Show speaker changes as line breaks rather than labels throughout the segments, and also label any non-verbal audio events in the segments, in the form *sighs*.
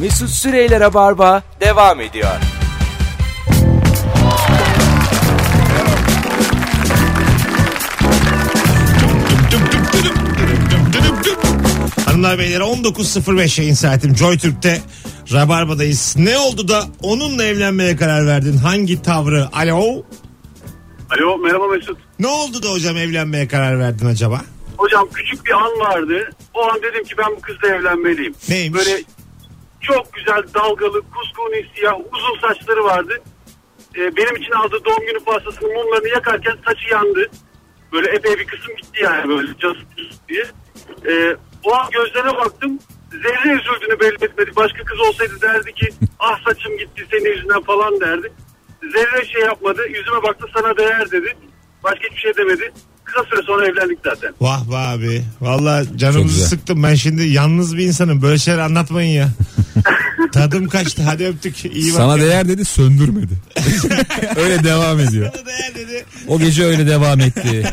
Mesut Süreyler'e barba devam ediyor.
Hanımlar beyler 19.05 yayın saatim Joy Türk'te Rabarba'dayız. Ne oldu da onunla evlenmeye karar verdin? Hangi tavrı? Alo.
Alo merhaba Mesut.
Ne oldu da hocam evlenmeye karar verdin acaba?
Hocam küçük bir an vardı. O an dedim ki ben bu kızla evlenmeliyim.
Neymiş?
Böyle çok güzel dalgalı, kuskuni siyah, uzun saçları vardı. Ee, benim için aldığı doğum günü pastasının mumlarını yakarken saçı yandı. Böyle epey bir kısım gitti yani böyle cız cız diye. Ee, o an gözlerine baktım. Zerre üzüldüğünü belli etmedi. Başka kız olsaydı derdi ki ah saçım gitti senin yüzünden falan derdi. Zerre şey yapmadı. Yüzüme baktı sana değer dedi. Başka hiçbir şey demedi. Kısa süre sonra evlendik zaten.
Vah be abi. Valla
Çok
canımızı
güzel.
sıktım. Ben şimdi yalnız bir insanım. Böyle şeyler anlatmayın
*laughs*
ya. Tadım kaçtı. Hadi öptük. İyi bak.
Sana değer
*laughs*
dedi söndürmedi. öyle devam ediyor.
Sana değer dedi.
O gece öyle devam etti.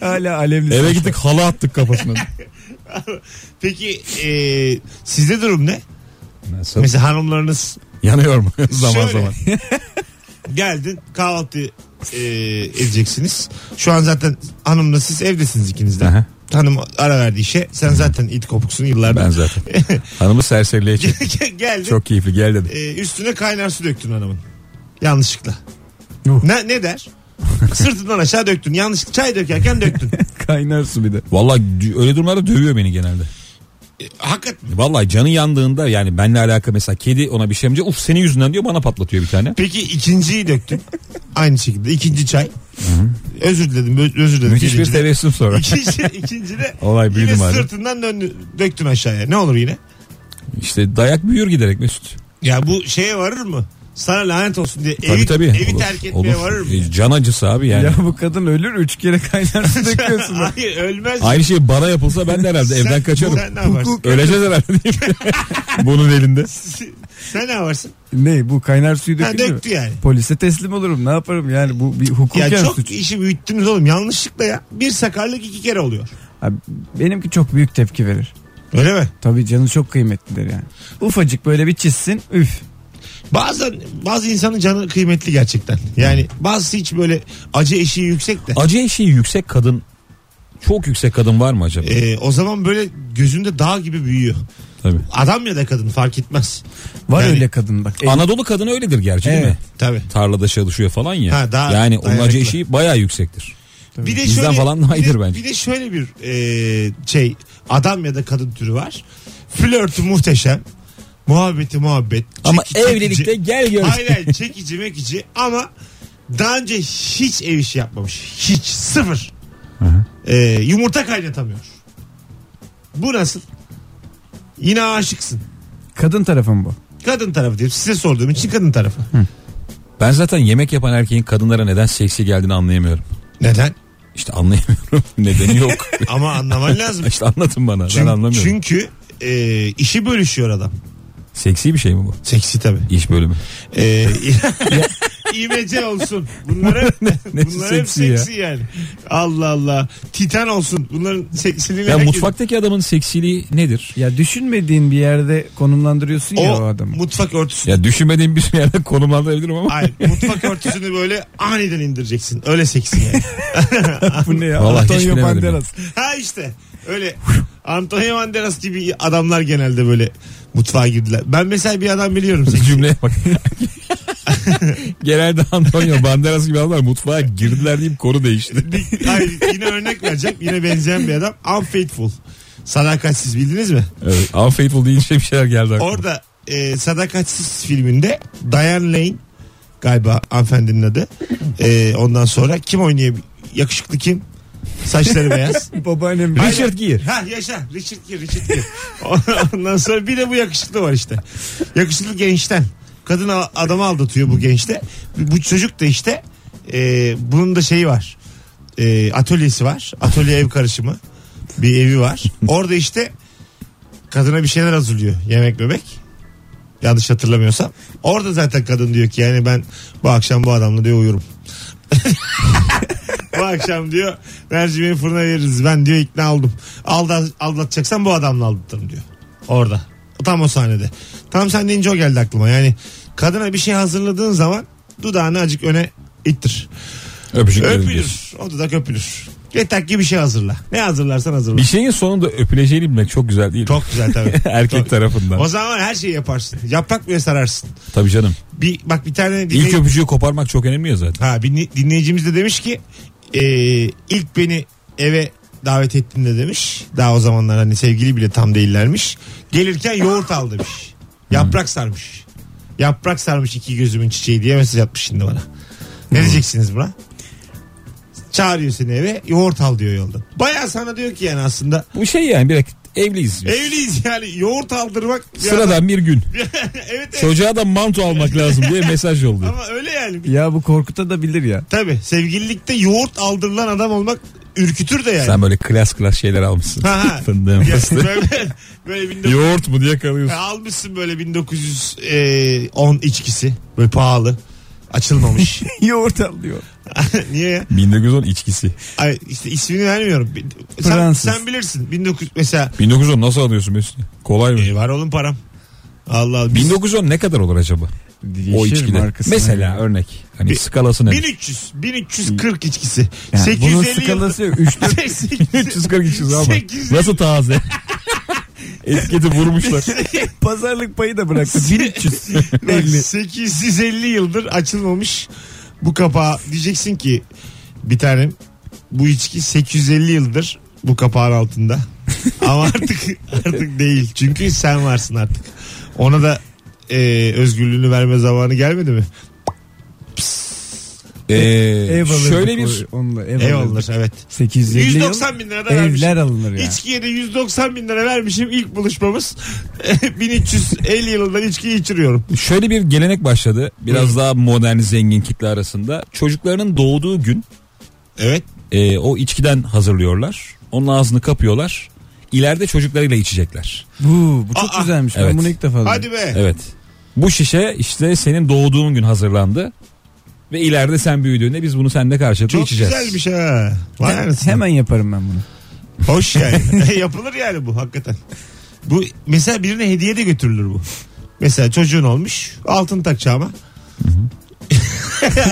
Hala alevli.
Eve gittik hala attık kafasına.
Peki e, sizde durum ne?
Nasıl?
Mesela hanımlarınız
*laughs* Yanıyor mu zaman
Şöyle.
zaman?
*laughs* geldin kahvaltı e, edeceksiniz. Şu an zaten hanımla siz evdesiniz ikiniz de.
Aha.
Hanım ara verdi işe. Sen zaten it kopuksun yıllardır.
Ben zaten. Hanımı
*laughs*
serseriliğe çektim.
Geldin.
Çok keyifli gel dedim.
e, üstüne kaynar su döktün hanımın. Yanlışlıkla.
Yuh.
Ne, ne
*laughs*
der? Sırtından aşağı döktün. Yanlış çay dökerken döktün.
Kaynar su bir de.
Vallahi dü- öyle durumlarda dövüyor beni genelde.
E, hakikaten.
Vallahi canı yandığında yani benle alakalı mesela kedi ona bir şey yapınca uf senin yüzünden diyor bana patlatıyor
*laughs*
bir tane.
Peki ikinciyi döktün. Aynı şekilde ikinci çay. özür diledim ö- özür diledim.
Müthiş bir
Birinci de. *laughs*
tebessüm sonra.
İkinci, ikinci de
Olay büyüdü
yine
madem.
sırtından döndü, döktün aşağıya. Ne olur yine?
İşte dayak büyür giderek Mesut.
Ya bu şeye varır mı? Sana lanet olsun diye
Tabii
evi,
tabii.
evi
Olur,
terk etmeye
olur.
varır mı? *laughs*
E, Can acısı abi yani.
Ya bu kadın ölür üç kere kaynar su döküyorsun.
Hayır ölmez.
Aynı şey bana yapılsa ben de herhalde
Sen-
evden kaçarım.
sen ne yaparsın?
Öleceğiz herhalde diyeyim.
*laughs*
Bunun elinde.
Sen ne yaparsın?
ne bu kaynar suyu
Ha,
dökülür mü?
döktü yani.
Polise teslim olurum ne yaparım yani bu bir
Ya
hukuken
çok
suç.
işi büyüttünüz oğlum yanlışlıkla ya. Bir sakarlık iki kere oluyor.
Ha, benimki çok büyük tepki verir.
Öyle mi?
Tabii canı çok kıymetlidir yani. Ufacık böyle bir çizsin üf.
Bazen bazı insanın canı kıymetli gerçekten. Yani bazısı hiç böyle acı eşiği yüksek de.
Acı eşiği yüksek kadın çok yüksek kadın var mı acaba?
Ee, o zaman böyle gözünde dağ gibi büyüyor.
Tabii.
Adam ya da kadın fark etmez.
Var
Yani-
öyle kadın bak. E,
e,
Eli-
Anadolu kadını öyledir gerçi değil mi?
Evet.
Tabii.
Tarlada çalışıyor falan ya.
Ha, daha
yani onun
dayanıklı.
acı eşiği bayağı yüksektir.
Bir de
Bizden
şöyle,
falan daha
bir de-
iyidir bence.
Bir de şöyle bir e, şey adam ya da kadın türü var. Flörtü muhteşem. Muhabbeti muhabbet.
Ama
Çekici-
evlilikte gel gör.
Hayır hayır çekici mekici ama daha önce hiç ev işi yapmamış. Hiç sıfır. Ee, yumurta kaynatamıyor. Bu nasıl? Yine aşıksın.
Kadın tarafı mı bu?
Kadın tarafı diyorum. Size sorduğum için kadın tarafı.
Ben zaten yemek yapan erkeğin kadınlara neden seksi geldiğini anlayamıyorum.
Neden?
İşte anlayamıyorum. *laughs* Nedeni
*laughs*
yok.
Ama anlaman lazım.
işte anlatın bana.
Çünkü,
*laughs* ben anlamıyorum.
çünkü e, işi bölüşüyor adam.
Seksi bir şey mi bu?
Seksi tabii.
İş bölümü.
*laughs* Ee, İmece olsun.
*laughs*
Bunlara,
Nesi
bunlar hep
seksi ya?
seksi yani. Allah Allah. Titan olsun. Bunların seksiliğine
Ya
herkes-
mutfaktaki adamın seksiliği nedir?
Ya düşünmediğin bir yerde konumlandırıyorsun ya o
o
adamı.
mutfak örtüsü.
Ya düşünmediğim bir şey yerde konumlandırabilirim ama.
Hayır mutfak örtüsünü böyle aniden indireceksin. Öyle seksi
*laughs*
yani.
bu ne ya?
Vallahi hiç
Antonio
bilemedim ya.
Banderas.
ha işte öyle Antonio Banderas gibi adamlar genelde böyle mutfağa girdiler. Ben mesela bir adam biliyorum.
Bu
seksi.
*laughs* cümleye bak. Genelde Antonio Banderas gibi adamlar mutfağa girdiler deyip konu değişti.
Hayır, yine örnek vereceğim. Yine benzeyen bir adam. Unfaithful. Sadakatsiz bildiniz mi?
Evet, unfaithful deyince bir şeyler geldi aklıma.
Orada e, Sadakatsiz filminde Diane Lane galiba hanımefendinin adı. E, ondan sonra kim oynayabilir? Yakışıklı kim? Saçları beyaz.
Babaannem.
Richard Gere.
Ha yaşa Richard Gere Richard Gere. *laughs* Ondan sonra bir de bu yakışıklı var işte. Yakışıklı gençten. Kadın a- adamı aldatıyor bu gençte. Bu çocuk da işte e, bunun da şeyi var. E, atölyesi var. Atölye ev karışımı. Bir evi var. Orada işte kadına bir şeyler hazırlıyor. Yemek bebek. Yanlış hatırlamıyorsam. Orada zaten kadın diyor ki yani ben bu akşam bu adamla diyor uyurum. bu akşam diyor mercimeği fırına veririz. Ben diyor ikna oldum. Aldat, aldatacaksan bu adamla aldatırım diyor. Orada. Tam o sahnede. Tam sen deyince o geldi aklıma. Yani kadına bir şey hazırladığın zaman dudağını acık öne ittir.
Öpücüklerim diyorsun.
Öpülür. O dudak öpülür. Yeter ki bir şey hazırla. Ne hazırlarsan hazırla.
Bir şey- şeyin sonunda öpüleceğini bilmek çok güzel değil. mi?
Çok güzel tabii.
*laughs* Erkek
Çok-
tarafından.
O zaman her şeyi yaparsın. Yaprak bile sararsın.
Tabii canım.
Bir, bak bir tane dinley-
İlk öpücüğü koparmak çok önemli ya zaten.
ha, bir ni- dinleyicimiz de demiş ki e, ilk beni eve davet ettiğinde demiş. Daha o zamanlar hani sevgili bile tam değillermiş. Gelirken yoğurt al demiş. Yaprak sarmış. Yaprak sarmış iki gözümün çiçeği diye mesaj atmış şimdi bana. Ne diyeceksiniz buna? Çağırıyor seni eve yoğurt al diyor yolda. Baya sana diyor ki yani aslında
Bu şey yani bir
E,
evliyiz. biz.
evliyiz yani yoğurt aldırmak. biraz-
Sıradan bir gün.
*laughs* evet, evet.
Çocuğa da manto almak lazım diye mesaj yolluyor.
Ama öyle yani. Bir-
Ya bu korkuta da
*laughs*
bilir ya.
Tabii sevgililikte yoğurt aldırılan adam olmak ürkütür de yani.
Sen böyle klas klas şeyler almışsın.
Ha, ha.
Fındığın
Yani
fıstığı.
böyle, böyle 1900
Yoğurt mu diye kalıyorsun.
E, almışsın böyle 1910 e, içkisi böyle pahalı açılmamış.
Yoğurt alıyor.
Niye ya?
1910 içkisi.
Ay, işte ismini vermiyorum. Sen,
Fransız.
sen bilirsin 1900 mesela
1910 nasıl alıyorsun Mesut? Kolay mı?
e, var oğlum param. Allah Allah. Biz-
1910 ne kadar olur acaba? o içkiden. Mesela örnek. Hani
Bir-
skalası ne?
1300 1340 içkisi.
yani
850
bunun
yılda- *laughs*
skalası yok. Üç-
340 içiyoruz ama.
850
Nasıl *laughs* taze? Etiketi vurmuşlar. *laughs*
pazarlık payı da bıraktı. 1300.
*laughs* Bak,
Belli.
850 yıldır açılmamış bu kapağı. Diyeceksin ki bir tanem bu içki 850 yıldır bu kapağın
*laughs*
altında. Ama artık artık değil. Çünkü sen varsın artık. Ona da e, özgürlüğünü verme zamanı gelmedi mi?
Ee,
Ev alırdık
şöyle bir
o- onunla ev,
Ev alınır
alırdık.
evet.
850 yıl.
190 bin lira da vermişim.
Evler alınır ya.
İçkiye de 190 bin lira vermişim ilk buluşmamız. *laughs* 1350 yılından içkiyi içiriyorum.
şöyle bir gelenek başladı. Biraz daha modern zengin kitle arasında. Çocuklarının doğduğu gün
Evet.
e, o içkiden hazırlıyorlar. Onun ağzını kapıyorlar. İleride çocuklarıyla içecekler.
Bu, bu çok
Aa,
güzelmiş.
evet.
Ben bunu ilk defa duydum.
Hadi be.
Evet. Bu şişe işte senin doğduğun gün hazırlandı. Ve ileride sen büyüdüğünde biz bunu seninle karşılıklı
Çok
içeceğiz.
güzelmiş ha. Vay
Hem-
anasını.
Hemen yaparım ben bunu.
Hoş yani. *laughs* E, Yapılır yani bu hakikaten. Bu mesela birine hediye de götürülür bu. Mesela çocuğun olmuş altın takacağıma.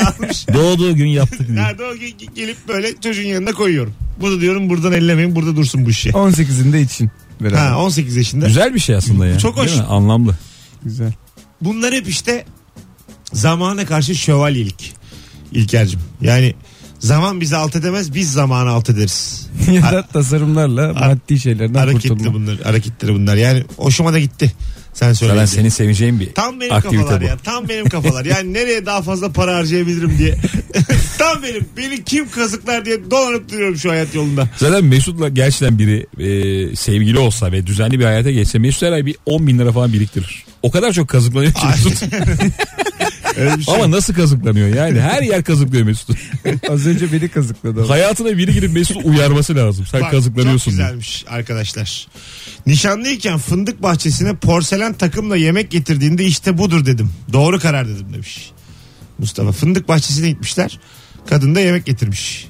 Almış.
Doğduğu gün
*laughs*
yaptık diye.
Nerede o ge- ge- gelip böyle çocuğun yanına koyuyorum. Bunu diyorum buradan ellemeyin burada dursun bu işi.
18'inde için. Beraber.
Ha 18 yaşında.
Güzel bir şey aslında ya.
Çok
Değil
hoş.
mi? Anlamlı.
Güzel. *laughs*
Bunlar hep işte zamana karşı şövalyelik. İlker'cim. Yani zaman bizi alt edemez biz zamanı alt ederiz.
ya da tasarımlarla maddi şeylerden
Hareketli
kurtulma.
bunlar. Hareketleri bunlar. Yani hoşuma da gitti. Sen söyle.
Ben senin seveceğin bir
Tam benim
aktivite
kafalar
bu.
ya. Tam benim kafalar. Yani nereye daha fazla para harcayabilirim diye. *laughs* tam benim. Beni kim kazıklar diye dolanıp duruyorum şu hayat yolunda.
Zaten Mesut'la gerçekten biri e, sevgili olsa ve düzenli bir hayata geçse Mesut her ay bir 10 bin lira falan biriktirir. O kadar çok kazıklanıyor ki Mesut.
Öyle bir şey.
Ama nasıl kazıklanıyor yani her yer kazıklıyor
*laughs*
Mesut'u.
Az önce beni kazıkladı. ama.
Hayatına biri girip Mesut'u uyarması lazım. Sen
Bak,
kazıklanıyorsun.
Çok
diye.
güzelmiş arkadaşlar. Nişanlıyken fındık bahçesine porselen takımla yemek getirdiğinde işte budur dedim. Doğru karar dedim demiş. Mustafa fındık bahçesine gitmişler. Kadın da yemek getirmiş.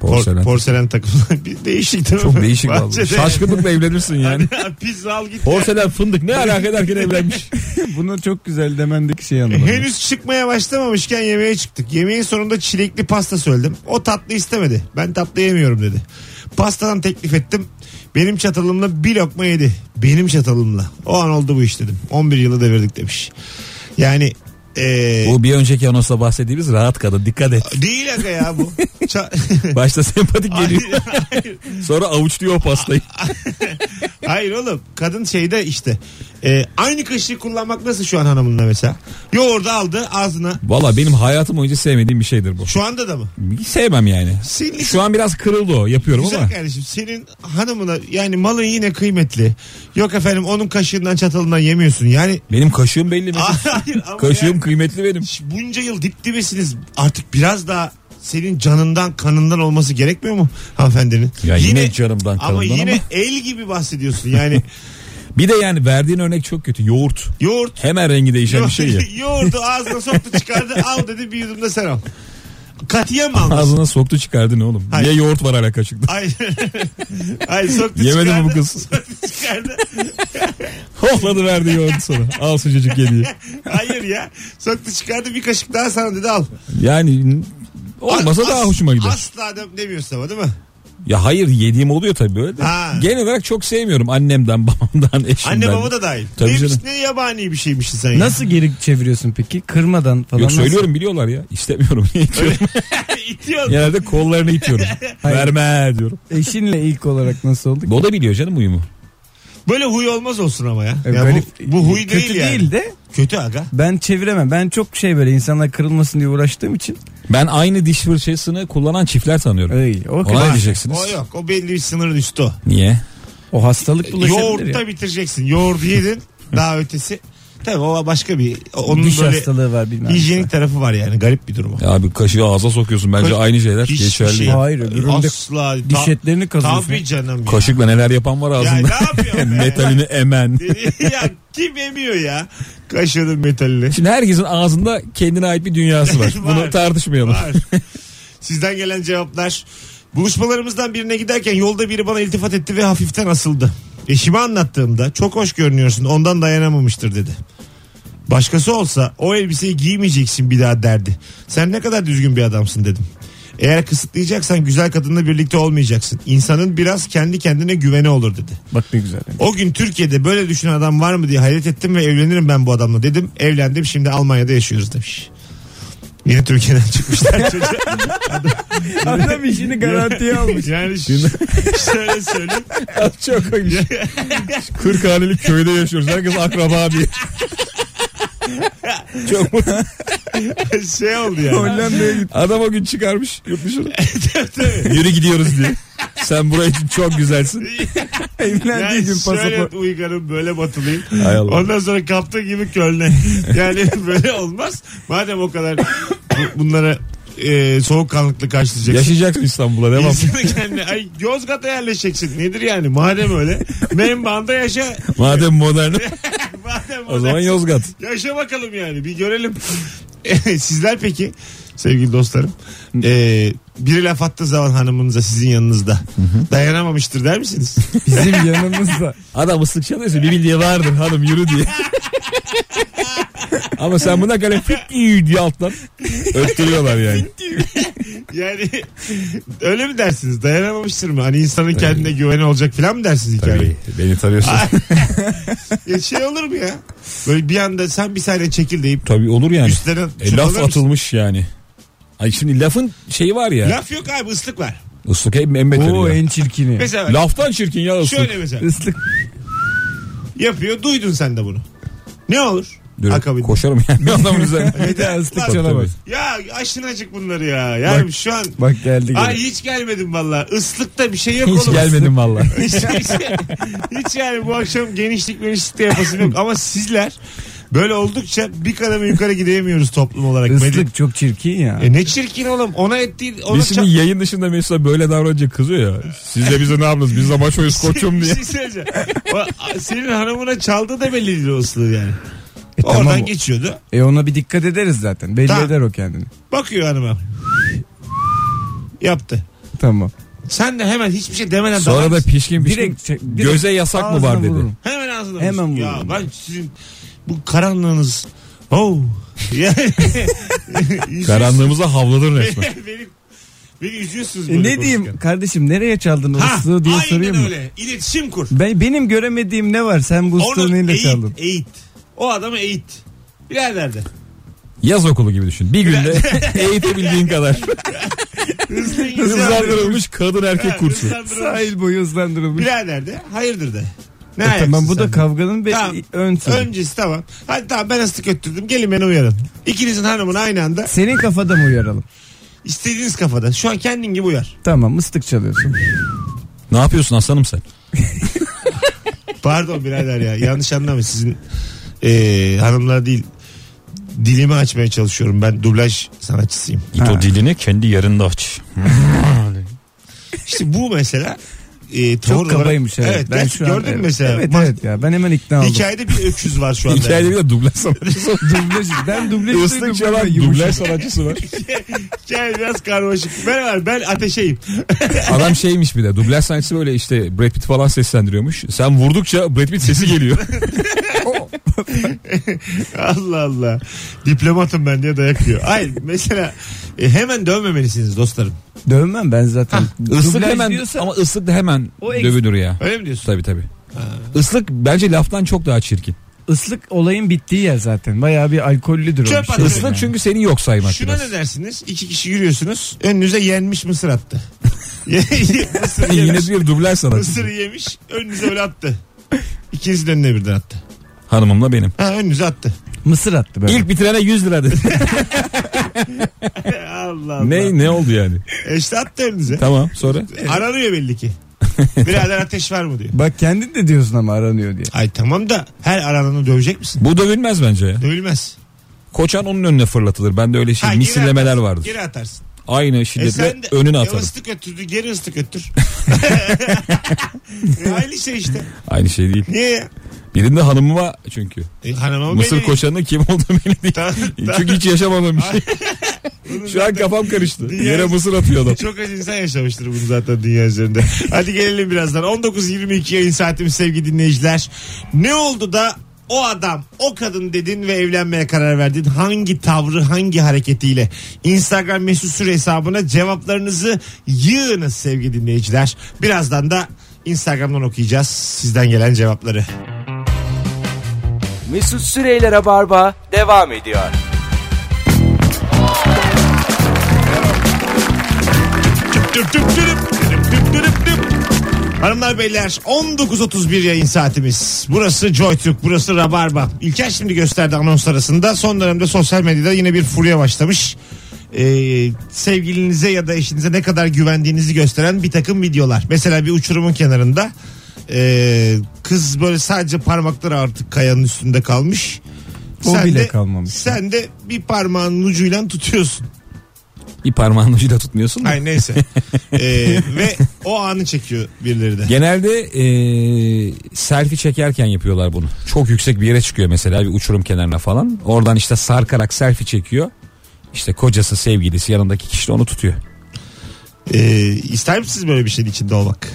Porselen,
Porselen.
porselen takımla. *laughs* Bir değişik değil mi?
Çok değişik vallahi.
Bahçede- *laughs*
Şaşkınlıkla evlenirsin yani.
Biz al git.
Porselen fındık ne alaka ederken evlenmiş.
Bunu çok güzel demendeki şeyi anlamadım.
Henüz çıkmaya başlamamışken yemeğe çıktık. Yemeğin sonunda çilekli pasta söyledim. O tatlı istemedi. Ben tatlı yemiyorum dedi. Pastadan teklif ettim. Benim çatalımla bir lokma yedi. Benim çatalımla. O an oldu bu iş dedim. 11 yılı devirdik demiş. Yani eee,
*laughs* Bu bir önceki anonsla bahsettiğimiz rahat kadın dikkat et.
değil aga ya bu. Ça- *laughs*
Başta sempatik geliyor
hayır, hayır,
sonra avuçluyor o pastayı.
hayır oğlum. Kadın şeyde işte. eee, aynı kaşığı kullanmak nasıl şu an hanımınla mesela? Yoğurdu aldı ağzına.
Valla benim hayatım boyunca sevmediğim bir şeydir bu.
Şu anda da mı?
Sevmem yani.
Sinirli
Şu an biraz kırıldı o yapıyorum
Güzel
ama.
kardeşim senin hanımına yani malın yine kıymetli. Yok efendim onun kaşığından çatalından yemiyorsun.
*laughs*
Yani
Benim kaşığım belli mi?
hayır Ah, ama
Kaşığım
yani
kıymetli benim.
bunca yıl dip dibesiniz artık biraz daha senin canından kanından olması gerekmiyor mu hanımefendinin?
Ya yine canımdan,
ama.
kanımdan
yine
ama.
el gibi bahsediyorsun
*laughs*
yani
Bir de yani verdiğin örnek çok kötü. Yoğurt.
yoğurt
Hemen rengi değişen bir şey ya.
*laughs* yoğurdu ağzına soktu çıkardı al dedi bir yudumda sen al. Katiyen mi almasın?
Ağzına soktu çıkardı ne oğlum?
Hayır.
Niye yoğurt var
*laughs*
hala kaşıkta? *laughs*
Ay, ay soktu
Yemedi mi
çıkardı.
bu kız?
Soktu çıkardı.
Hop Tokladı verdi yoğurdu sana. Al sucuk geliyor.
*laughs* Hayır ya. Soktu çıkardı bir kaşık daha sana dedi al.
Yani olmasa
As-
daha hoşuma gider.
Asla dem- demiyorsun ama değil mi?
Ya hayır yediğim oluyor tabii öyle. de.
Ha.
Genel olarak çok sevmiyorum annemden, babamdan, eşimden.
Anne baba da dahil.
Tabii
Neymiş,
canım.
ne yabani bir şeymişsin sen ya. *laughs*
Nasıl geri çeviriyorsun peki? Kırmadan falan.
Yok
nasıl?
söylüyorum biliyorlar ya. İstemiyorum. *laughs* niye itiyorum?
İtiyorsun.
Genelde
*laughs*
kollarını itiyorum.
Hayır.
Verme diyorum.
Eşinle ilk olarak nasıl oldu?
O da biliyor canım uyumu.
Böyle huy olmaz olsun ama ya.
E,
ya
böyle-
bu, bu huy
kötü
değil yani.
değil de
Kötü aga.
ben çeviremem. Ben çok şey böyle insanlar kırılmasın diye uğraştığım için.
Ben aynı diş fırçasını kullanan çiftler tanıyorum.
Ey, o,
Ona ne
Vay.
diyeceksiniz?
O yok. O belli bir sınırın üstü o.
Niye?
o hastalık bulaşabilir
Yoğurtta
ya.
bitireceksin. Yoğurdu
*laughs*
yedin. daha ötesi. Tabii o başka bir. Onun
Diş
böyle
hastalığı var bilmem.
hijyenik tarafı var yani. Garip bir durum o.
Ya abi kaşığı ağza sokuyorsun. Bence
Kaş-
aynı şeyler
Hiçbir
geçerli.
şey.
Hayır, öbüründe
Asla. Ta-
Diş etlerini kazıyorsun.
Tabii canım. ya.
Kaşıkla neler yapan var
Ya ne
ağzında. *laughs*
yapıyorsun? be?
Metalini emen.
*laughs* ya kim emiyor ya? Kaşığının metalini.
Şimdi herkesin ağzında kendine ait bir dünyası var.
*laughs* Var.
Bunu tartışmayalım.
Var. Sizden gelen cevaplar. Buluşmalarımızdan birine giderken yolda biri bana iltifat etti ve hafiften asıldı. Eşime anlattığımda çok hoş görünüyorsun ondan dayanamamıştır dedi. Başkası olsa o elbiseyi giymeyeceksin bir daha derdi. Sen ne kadar düzgün bir adamsın dedim. Eğer kısıtlayacaksan güzel kadınla birlikte olmayacaksın. İnsanın biraz kendi kendine güveni olur dedi.
Bak ne güzel.
O gün Türkiye'de böyle düşünen adam var mı diye hayret ettim ve evlenirim ben bu adamla dedim. Evlendim şimdi Almanya'da yaşıyoruz demiş. Yine Türkiye'den çıkmışlar çocuğa.
Adam işini garantiye *laughs* almış.
Yani ş- *laughs* şöyle söyleyeyim. *laughs*
*laughs* Çok hoş. 40 hanelik köyde yaşıyoruz. Herkes akraba bir. *laughs* Çok mutlu.
Şey oldu yani.
Hollanda'ya git.
Adam o gün çıkarmış yurt *laughs* dışına. Yürü gidiyoruz diye. Sen buraya için çok güzelsin.
Evlendiği
Yani
gün
şöyle
pasaport.
uygarım böyle batılıyım.
Hay Allah.
Ondan sonra kaptığı gibi Köln'e. *laughs* Yani böyle olmaz. Madem o kadar bu- bunlara e, soğukkanlıklı karşılayacaksın.
Yaşayacaksın İstanbul'a
*laughs*
devam.
İnsanı kendine, ay Yozgat'a yerleşeceksin. Nedir yani? Madem öyle. Menbaanda yaşa.
Madem modern
Madem
o zaman
öyle.
Yozgat.
Yaşa bakalım yani bir görelim. *laughs* Sizler peki sevgili dostlarım ee, biri laf attığı zaman hanımınıza sizin yanınızda dayanamamıştır der misiniz?
Bizim
*laughs*
yanımızda.
Adam ıslık çalıyorsa bir bildiği vardır hanım yürü *laughs* diye. Ama sen buna kadar fit iyi diye *laughs* alttan öttürüyorlar yani.
yani öyle mi dersiniz dayanamamıştır mı? Hani insanın kendine güveni olacak falan mı dersiniz hikayeyi?
beni tarıyorsun.
Ya şey olur mu ya? Böyle bir anda sen bir saniye çekil deyip
Tabii olur yani.
üstlerine
şey
E, laf
çabalar mısın?
atılmış yani. Ay şimdi lafın şeyi var ya.
Laf yok abi ıslık var.
Islık en, en beteri
Oo
ya.
en çirkini.
Mesela bak,
Laftan çirkin ya ıslık.
şöyle mesela
Islık.
yapıyor duydun sen de bunu. Ne olur?
Dur,
Akabinde.
koşarım yani adamın
*laughs*
üzerine.
Bir de ıslık
Tabii,
çalamaz.
Ya aşın acık bunları ya. Yani şu an
Bak geldi
Ay
geldi.
hiç gelmedim valla. Islıkta bir şey yok
Hiç
oğlum.
gelmedim valla.
*laughs* Hiç, hiç, hiç yani bu akşam genişlik genişlik de yapasım yok. Ama sizler böyle oldukça bir kademe yukarı gidemiyoruz toplum olarak. Medya-
Islık çok çirkin ya.
E ne çirkin oğlum. Ona ettiğin... Ona
Biz şimdi
çap-
yayın dışında Mesut'a böyle davranınca kızıyor ya. Siz de bize ne yaptınız? Biz de maç oynuyoruz
*laughs*
koçum
Bir
diye.
şey söyleyeceğim. O- Senin hanımına çaldı da belli değil o ıslığı yani.
E, tamam.
Oradan geçiyordu.
E ona bir dikkat ederiz zaten. Belli
Tamam.
eder o kendini.
Bakıyor hanıma. Yaptı.
Tamam.
Sen de hemen hiçbir şey demeden
Sonra
davran-
da pişkin pişkin
Direkt çek- direkt
göze yasak mı var
şey, ağzına
dedi.
vururum.
Hemen ağzına
Hemen
vursun. Ya
vururum.
ben sizin bu karanlığınız.
*laughs*
Oh. Yani- *laughs*
Karanlığımıza havladın resmen.
*laughs*
beni, beni üzüyorsunuz
E
böyle
ne diyeyim
konuşurken.
kardeşim nereye çaldın o
Ha,
ıslığı diye
aynen
sorayım mı?
öyle. İletişim kur.
Ben, benim göremediğim ne var? Sen bu ıslığı
Onu
neyle
eğit,
çaldın?
eğit. O adamı eğit. Birader de.
Yaz okulu gibi düşün. Bir günde
*laughs*
*laughs* eğitebildiğin kadar.
Hızlı
Hızlandırılmış kadın erkek kursu.
Sahil boyu hızlandırılmış.
Birader de. Hayırdır de. Ne
E tamam
ayaksın
bu da
sen de?
kavganın bir
Tamam.
ön sonu.
Öncesi tamam. Hadi tamam ben ıslık öttürdüm. Gelin beni uyarın. İkinizin hanımını aynı anda
Senin kafada mı uyaralım?
istediğiniz kafada. Şu an kendin gibi uyar.
Tamam ıslık çalıyorsun.
Ne yapıyorsun aslanım sen?
Pardon birader ya yanlış anlamayın sizin eee hanımlar değil dilimi açmaya çalışıyorum ben dublaj sanatçısıyım.
Git o dilini kendi yerinde aç.
İşte bu mesela e, tavır
Çok
olarak-
kabaymış evet.
Evet, ben
şu an-
gördün mü mesela?
Evet
Ma-
evet ya ben hemen ikna oldum.
Hikayede bir öküz var
*laughs*
şu anda.
Hikayede bir de dublaj sanatçısı var.
dublaj, ben dublaj
Islık
duydum.
çalan
Yumuşak.
dublaj sanatçısı var.
Hikaye biraz karmaşık. Merhaba ben ateşeyim.
Adam şeymiş bir de dublaj sanatçısı böyle işte Brad Pitt falan seslendiriyormuş. Sen vurdukça Brad Pitt sesi
*laughs*
geliyor.
Allah Allah. Diplomatım ben diye dayak yiyor. Hayır mesela e, hemen dövmemelisiniz dostlarım.
Dövmem ben zaten.
Islık
Dublaj
hemen
diyorsa-
ama ıslık da hemen
O eks-
dövülür ya.
Öyle mi diyorsun?
Tabii tabii. Islık bence laftan çok daha çirkin.
Islık olayın bittiği yer zaten. Bayağı bir alkollüdür
Çöp
o bir şey.
atıyor.
Islık
yani.
çünkü seni yok saymak
Şuna
biraz.
ne dersiniz? İki kişi yürüyorsunuz. Önünüze yenmiş mısır attı. *laughs*
*laughs*
mısır
Yine
yemiş.
bir dublaj
mısır
sanatçısı.
yemiş. Önünüze öyle attı. İkinizin önüne birden attı.
Hanımımla benim.
Ha önünüze attı.
Mısır attı böyle.
İlk bitirene 100 lira dedi.
*laughs*
Allah Allah.
ne, E? ne oldu yani?
E işte attı önünüze.
Tamam sonra.
Aranıyor belli
*laughs*
ki. Birader ateş var mı diyor.
Bak kendin de diyorsun ama aranıyor diye.
Ay tamam da her arananı dövecek misin?
Bu dövülmez bence ya.
Dövülmez.
Koçan onun önüne fırlatılır. Ben de öyle şey
Ha, geri
misillemeler
atarsın,
vardır.
Geri atarsın.
Aynı şiddetle önüne
e,
atarım.
ıslık öttürdü geri ıslık
*laughs*
öttür. E, aynı şey işte.
Aynı şey değil.
Niye ya?
Birinde hanımıma çünkü.
E, hanıma
Mısır
beni-
koçanının kim olduğu belli değil.
Tamam, *laughs* tamam.
Çünkü hiç yaşamadım bir
*laughs*
şey. Şu an kafam karıştı.
Dünya-
Yere mısır atıyor adam.
Çok acı insan yaşamıştır bunu zaten dünya üzerinde. Hadi gelelim birazdan. 19.22 yayın saatimiz sevgili dinleyiciler. Ne oldu da o adam o kadın dedin ve evlenmeye karar verdin. Hangi tavrı hangi hareketiyle? Instagram mesut süre hesabına cevaplarınızı yığınız sevgili dinleyiciler. Birazdan da Instagram'dan okuyacağız sizden gelen cevapları.
Mesut Süreyler'e barba devam ediyor.
Tüp tüp tüp, tüp tüp tüp tüp. Hanımlar beyler 19.31 yayın saatimiz. Burası JoyTürk, burası Rabarba. İlker şimdi gösterdi anons arasında. Son dönemde sosyal medyada yine bir furya başlamış. Ee, sevgilinize ya da eşinize ne kadar güvendiğinizi gösteren bir takım videolar. Mesela bir uçurumun kenarında ee, kız böyle sadece parmakları artık kayanın üstünde kalmış.
O bile kalmamış.
Sen de bir parmağının ucuyla tutuyorsun.
Bir parmağın ucuyla tutmuyorsun da.
Ay
*laughs*
neyse. Ee, ve o anı çekiyor birileri de.
Genelde eee, selfie çekerken yapıyorlar bunu. Çok yüksek bir yere çıkıyor mesela bir uçurum kenarına falan. Oradan işte sarkarak selfie çekiyor. İşte kocası sevgilisi yanındaki kişi de onu tutuyor.
Ee, ister misiniz böyle bir şeyin içinde olmak?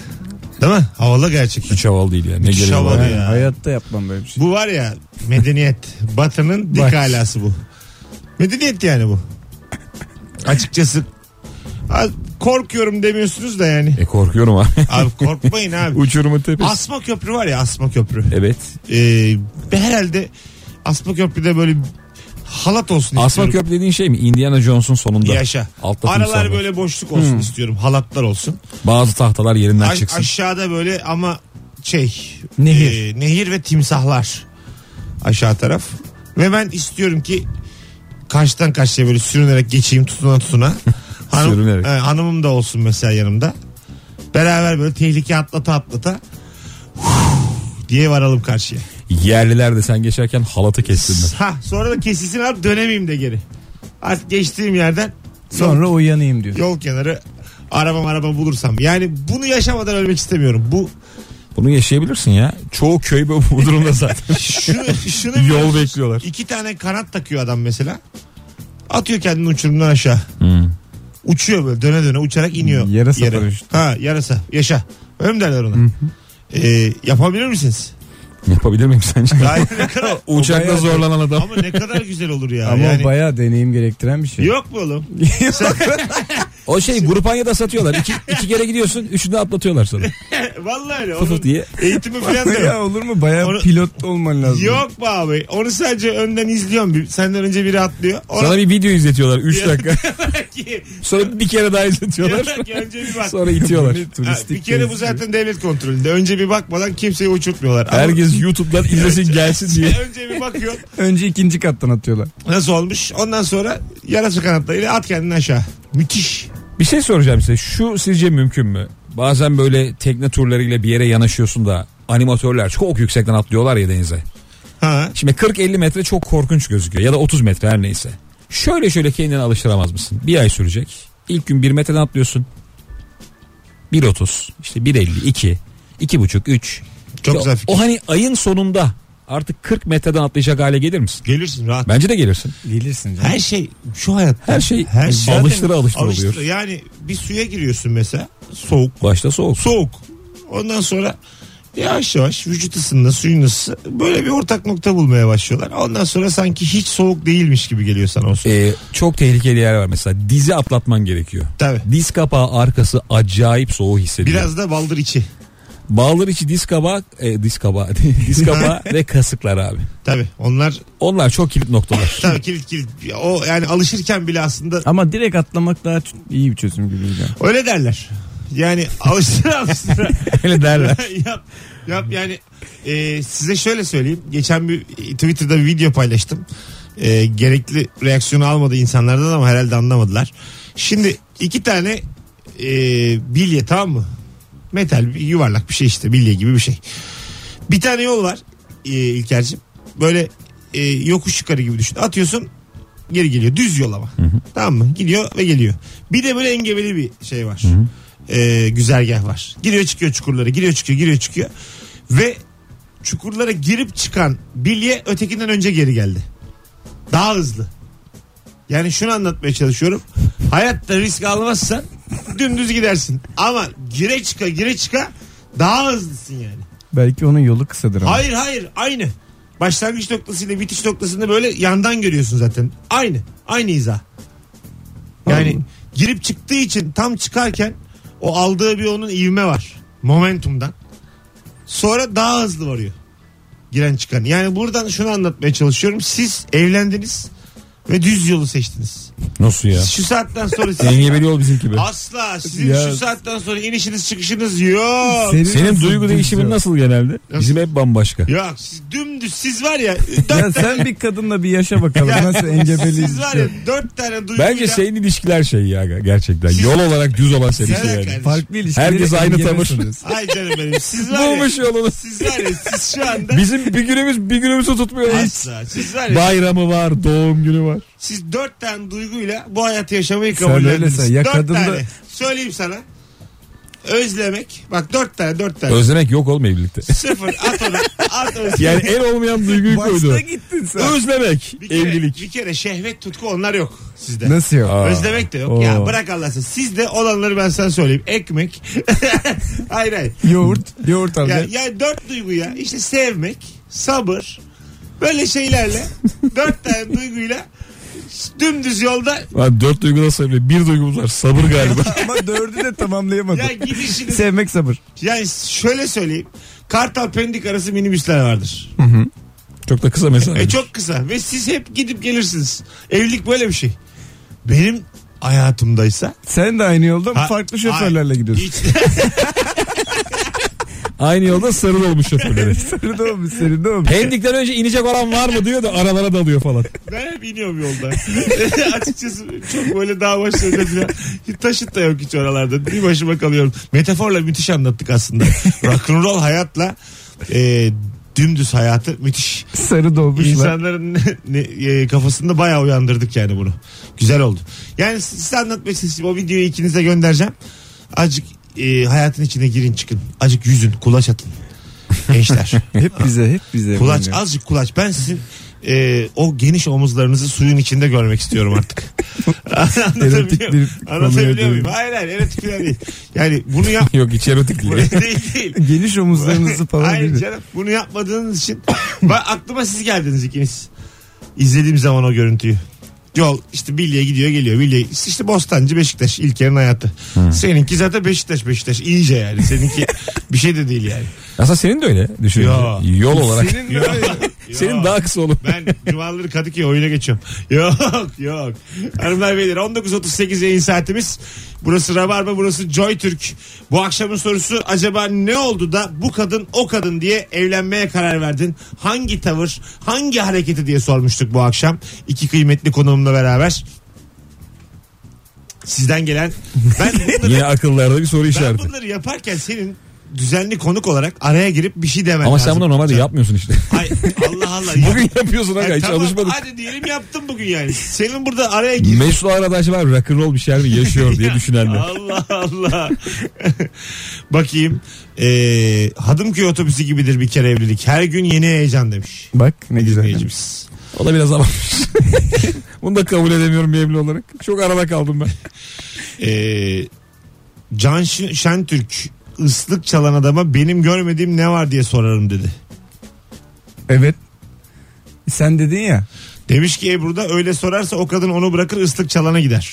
Değil mi? Havalı gerçekten.
Hiç havalı değil yani. Ne
Hiç
gereği var?
havalı.
Yani
Ya.
Hayatta yapmam böyle bir şey.
Bu var ya medeniyet. Batı'nın dik
Bak.
alası bu. Medeniyet yani bu. Açıkçası a- korkuyorum demiyorsunuz da yani.
E korkuyorum abi. *laughs*
Abi korkmayın abi.
Uçurumun tepesi.
Asma köprü var ya asma köprü.
Evet.
Ee, herhalde asma köprüde böyle halat olsun
Asma
istiyorum.
köprü dediğin şey mi? Indiana Jones'un sonunda.
Yaşa.
Altta Hmm. timsah
Aralar
var.
böyle boşluk olsun istiyorum. Halatlar olsun.
Bazı tahtalar yerinden
A-
çıksın.
aşağıda böyle ama şey
Nehir.
e, nehir ve timsahlar aşağı taraf ve ben istiyorum ki karşıdan karşıya böyle sürünerek geçeyim tutuna tutuna Hanım-
Sürünerek.
e, hanımım da olsun mesela yanımda beraber böyle tehlike atlata atlata *sighs* huf diye varalım karşıya.
Yerliler de sen geçerken halatı kessinler.
Ha sonra da kesilsin abi dönemeyeyim de geri. Artık geçtiğim yerden
Sonra uyanayım diyor.
yol kenarı araba araba bulursam. Yani bunu yaşamadan ölmek istemiyorum. Bu
Bunu yaşayabilirsin ya. Çoğu köy bu bu
*laughs*
durumda zaten.
şunu, şunu biliyor
Yol
musun?
bekliyorlar.
İki tane kanat takıyor adam mesela. Atıyor kendini uçurumdan aşağı.
Hmm.
Uçuyor böyle döne döne uçarak iniyor.
Yarasa
yere.
paraşütü.
Ha yarasa. Yaşa. Öyle mi derler ona? Ee, yapabilir misiniz?
Yapabilir miyim sence?
Ay, ne kadar,
Uçakta
bayağı-
zorlanan adam.
ama ne kadar güzel olur ya.
Ama
yani.
o bayağı deneyim gerektiren bir şey.
Yok mu oğlum? *laughs*
O şey grupanyada satıyorlar.
*laughs*
İki, iki kere gidiyorsun üçünü de atlatıyorlar sana.
Vallahi öyle.
Fıfır
Onun
diye.
Eğitimi falan da yok.
Ya olur mu? Bayağı
Onu-
pilot olman lazım.
Yok be abi. Onu sadece önden izliyorum. Bir- Senden önce biri atlıyor. Ona
Sana bir video izletiyorlar
*laughs*
3 dakika.
ki,
Sonra bir kere daha izletiyorlar.
*laughs* Diyorlar ki önce bir bak.
Sonra itiyorlar.
Bu ne
Ha,
turistik
*laughs* bir kere bu
gezisi?
zaten devlet kontrolünde. Önce bir bakmadan kimseyi uçurtmuyorlar. Ama
Herkes YouTube'dan izlesin gelsin diye.
önce bir bakıyor.
Önce ikinci kattan atıyorlar.
Nasıl olmuş? Ondan sonra yarasa kanatlarıyla at kendini aşağı. Müthiş.
Bir şey soracağım size. Şu sizce mümkün mü? Bazen böyle tekne turlarıyla bir yere yanaşıyorsun da animatörler çok yüksekten atlıyorlar ya denize.
Ha.
Şimdi 40-50 metre çok korkunç gözüküyor ya da 30 metre her neyse. Şöyle şöyle kendini alıştıramaz mısın? Bir ay sürecek. İlk gün 1 metreden atlıyorsun. 1.30 işte 1.50 2 2.5 3.
Çok
İşte
güzel fikir.
O hani ayın sonunda artık 40 metreden atlayacak hale gelir misin?
Gelirsin rahat.
Bence de gelirsin.
Gelirsin canım.
Her şey şu hayatta.
Her şey alıştıra alıştıra
Alıştıra-
oluyor.
Yani bir suya giriyorsun mesela soğuk.
Başta soğuk.
Soğuk. Ondan sonra yavaş yavaş vücut ısınla suyun ısısı böyle bir ortak nokta bulmaya başlıyorlar. Ondan sonra sanki hiç soğuk değilmiş gibi geliyor sana o su.
Ee, çok tehlikeli yer var mesela. Dizi atlatman gerekiyor.
Tabii.
Diz kapağı arkası acayip soğuğu hissediliyor.
Biraz da baldır içi.
Bağlar içi diz kabağı, e, diz kabağı, *laughs* diz kabağı ve kasıklar abi.
Tabii onlar
Onlar çok
*laughs*
kilit noktalar.
tabii kilit kilit. O yani alışırken bile aslında
Ama direkt atlamak daha ç- iyi bir çözüm gibi geliyor.
öyle derler. Yani alıştıra alıştıra.
Öyle derler.
yap, yap yani e, size şöyle söyleyeyim. Geçen bir Twitter'da bir video paylaştım. E, gerekli reaksiyonu almadı insanlardan ama herhalde anlamadılar. Şimdi iki tane e, bilye tamam mı? Metal bir yuvarlak bir şey işte bilye gibi bir şey. Bir tane yol var e, İlker'cim. Böyle e, yokuş yukarı gibi düşün. Atıyorsun geri geliyor. Düz yol ama. Tamam mı? Gidiyor ve geliyor. Bir de böyle engebeli bir şey var. E, güzergah var. Giriyor çıkıyor çukurlara. Giriyor çıkıyor giriyor çıkıyor. Ve çukurlara girip çıkan bilye ötekinden önce geri geldi. Daha hızlı. Yani şunu anlatmaya çalışıyorum. Hayatta risk almazsan dümdüz gidersin. Ama gire çıka gire çıka daha hızlısın yani.
Belki onun yolu kısadır ama.
Hayır hayır aynı. Başlangıç noktasıyla bitiş noktasında böyle yandan görüyorsun zaten. Aynı. Aynı izah. Yani
Anladım.
girip çıktığı için tam çıkarken o aldığı bir onun ivme var. Momentumdan. Sonra daha hızlı varıyor. Giren çıkan. Yani buradan şunu anlatmaya çalışıyorum. Siz evlendiniz ve düz yolu seçtiniz.
*laughs* Nasıl ya?
Şu saatten sonra siz
Engebeli yol bizimki be.
asla sizin
Ya.
şu saatten sonra inişiniz çıkışınız yok.
Senin
nasıl
duygu
düz
değişimin
yol?
nasıl genelde? Bizim hep bambaşka.
Yok siz dümdüz siz var ya
Ya sen bir kadınla bir yaşa bakalım nasıl engebeli
Siz var ya dört tane duygu.
şey. Bence senin ilişkiler şey ya gerçekten.
Siz-
Yol olarak düz olan
Sen
serisi yani.
hakikaten-
Farklı ilişkileri
Herkes aynı
engebesiniz.
tavır.
Ay canım benim. Siz var ya.
*laughs* Bulmuş yolunu.
Siz var ya siz şu anda.
Bizim bir günümüz bir günümüzü tutmuyor hiç.
Asla. Siz var ya.
Bayramı var, doğum günü var.
Siz dört tane duyguyla bu hayatı yaşamayı
Sen
kabul
öyle
ediniz.
sen, ya
dört
kadın da-
tane. Söyleyeyim sana. Özlemek. Bak dört tane dört tane.
Özlemek yok oğlum evlilikte.
Sıfır. At onu. At onu.
*laughs* Yani en olmayan duyguyu koydu.
*laughs* Başta gittin sen.
Özlemek,
bir kere,
evlilik.
Bir kere şehvet tutku onlar yok sizde.
Nasıl yok?
Aa.
Özlemek de yok. Ya
Oo.
bırak Allah'ını seversen. Sizde olanları ben sana söyleyeyim. Ekmek. *laughs* hayır hayır.
Yoğurt. Yoğurt abi.
Ya, ya dört duygu ya. İşte sevmek, sabır, böyle şeylerle dört tane duyguyla dümdüz yolda
Lan dört duygu nasıl evli? Bir duygumuz var. Sabır galiba.
*laughs*
Ama dördü de tamamlayamadı.
ya gidişiniz.
Sevmek sabır.
yani şöyle söyleyeyim. Kartal Pendik arası minibüsler vardır.
Çok da kısa mesafe.
E çok kısa ve siz hep gidip gelirsiniz. Evlilik böyle bir şey. Benim hayatımdaysa
Sen de aynı yolda ama
Ha-
farklı şoförlerle
Ay,
gidiyorsun.
hiç-
Aynı yolda sarıl olmuş
*laughs*
şoförleri.
Sarı da olmuş, sarı da olmuş.
Pendik'ten önce inecek olan var mı diyor da aralara dalıyor falan.
Ben hep iniyorum yolda. *laughs* Açıkçası çok böyle dağ başlarında falan. Hiç Taşıt da yok hiç oralarda. Bir başıma kalıyorum. Metaforla müthiş anlattık aslında. Rock'n'roll hayatla e, dümdüz hayatı müthiş.
Sarı dolmuşlar.
İnsanların ne- *laughs* ne- e, kafasında bayağı uyandırdık yani bunu. Güzel oldu. Yani s- size anlatmak istedim. O videoyu ikinize göndereceğim. Azıcık e, hayatın içine girin çıkın. Azıcık yüzün kulaç atın. Gençler. *laughs*
Hep bize, hep bize.
Kulaç
yapılıyor.
azıcık kulaç. Ben sizin e, o geniş omuzlarınızı suyun içinde görmek istiyorum
*laughs*
artık. Anlatabiliyor,
Erotik bir konuya
anlatabiliyor muyum?
dönüyor.
Hayır hayır erotik falan değil. Yani bunu
*laughs*
yap.
Yok hiç erotik değil.
*laughs* değil değil.
Geniş omuzlarınızı falan
Hayır
değil mi?
canım bunu yapmadığınız için Bak, aklıma siz geldiniz ikiniz. İzlediğim zaman o görüntüyü. Yol işte Billy'e gidiyor geliyor. Bilye işte Bostancı Beşiktaş İlker'in hayatı. Seninki zaten Beşiktaş Beşiktaş iyice yani. Seninki bir şey de değil yani.
Aslında senin de öyle
Yo.
düşünüyorum. Yol olarak. Senin,
*laughs* Senin de öyle.
daha kısa olup.
Ben cumaları Kadıköy oyuna geçiyorum. *laughs* Yok yok. Hanımlar beyler 19.38 yayın saatimiz. Burası Rabarba burası Joy Türk. Bu akşamın sorusu acaba ne oldu da bu kadın o kadın diye evlenmeye karar verdin? Hangi tavır hangi hareketi diye sormuştuk bu akşam. İki kıymetli konuğumla beraber. Sizden gelen ben bunları,
*laughs* *laughs* Yine akıllarda bir soru
ben
işareti.
bunları yaparken senin düzenli konuk olarak araya girip bir şey demen
Ama
lazım.
sen bunu normalde
*laughs*
yapmıyorsun işte.
Ay, Allah Allah.
*laughs* Bugün yapıyorsun
Ay,
aga hiç
E, tamam,
alışmadık.
Hadi diyelim yaptım bugün yani. Senin burada araya gir.
Mesut arkadaş var rock'n'roll bir şeyler mi
*laughs*
yaşıyor diye düşünenler.
Allah Allah. *laughs* Bakayım. Ee, Hadımköy otobüsü gibidir bir kere evlilik. Her gün yeni heyecan demiş.
Bak ne güzel.
Dinleyicimiz.
O da biraz abartmış. *laughs* Bunu da kabul edemiyorum bir evli olarak. Çok arada kaldım ben.
Ee, Can Ş- Şentürk ıslık çalan adama benim görmediğim ne var diye sorarım dedi.
Evet. Sen dedin ya.
Demiş ki Ebru da öyle sorarsa o kadın onu bırakır ıslık çalana gider.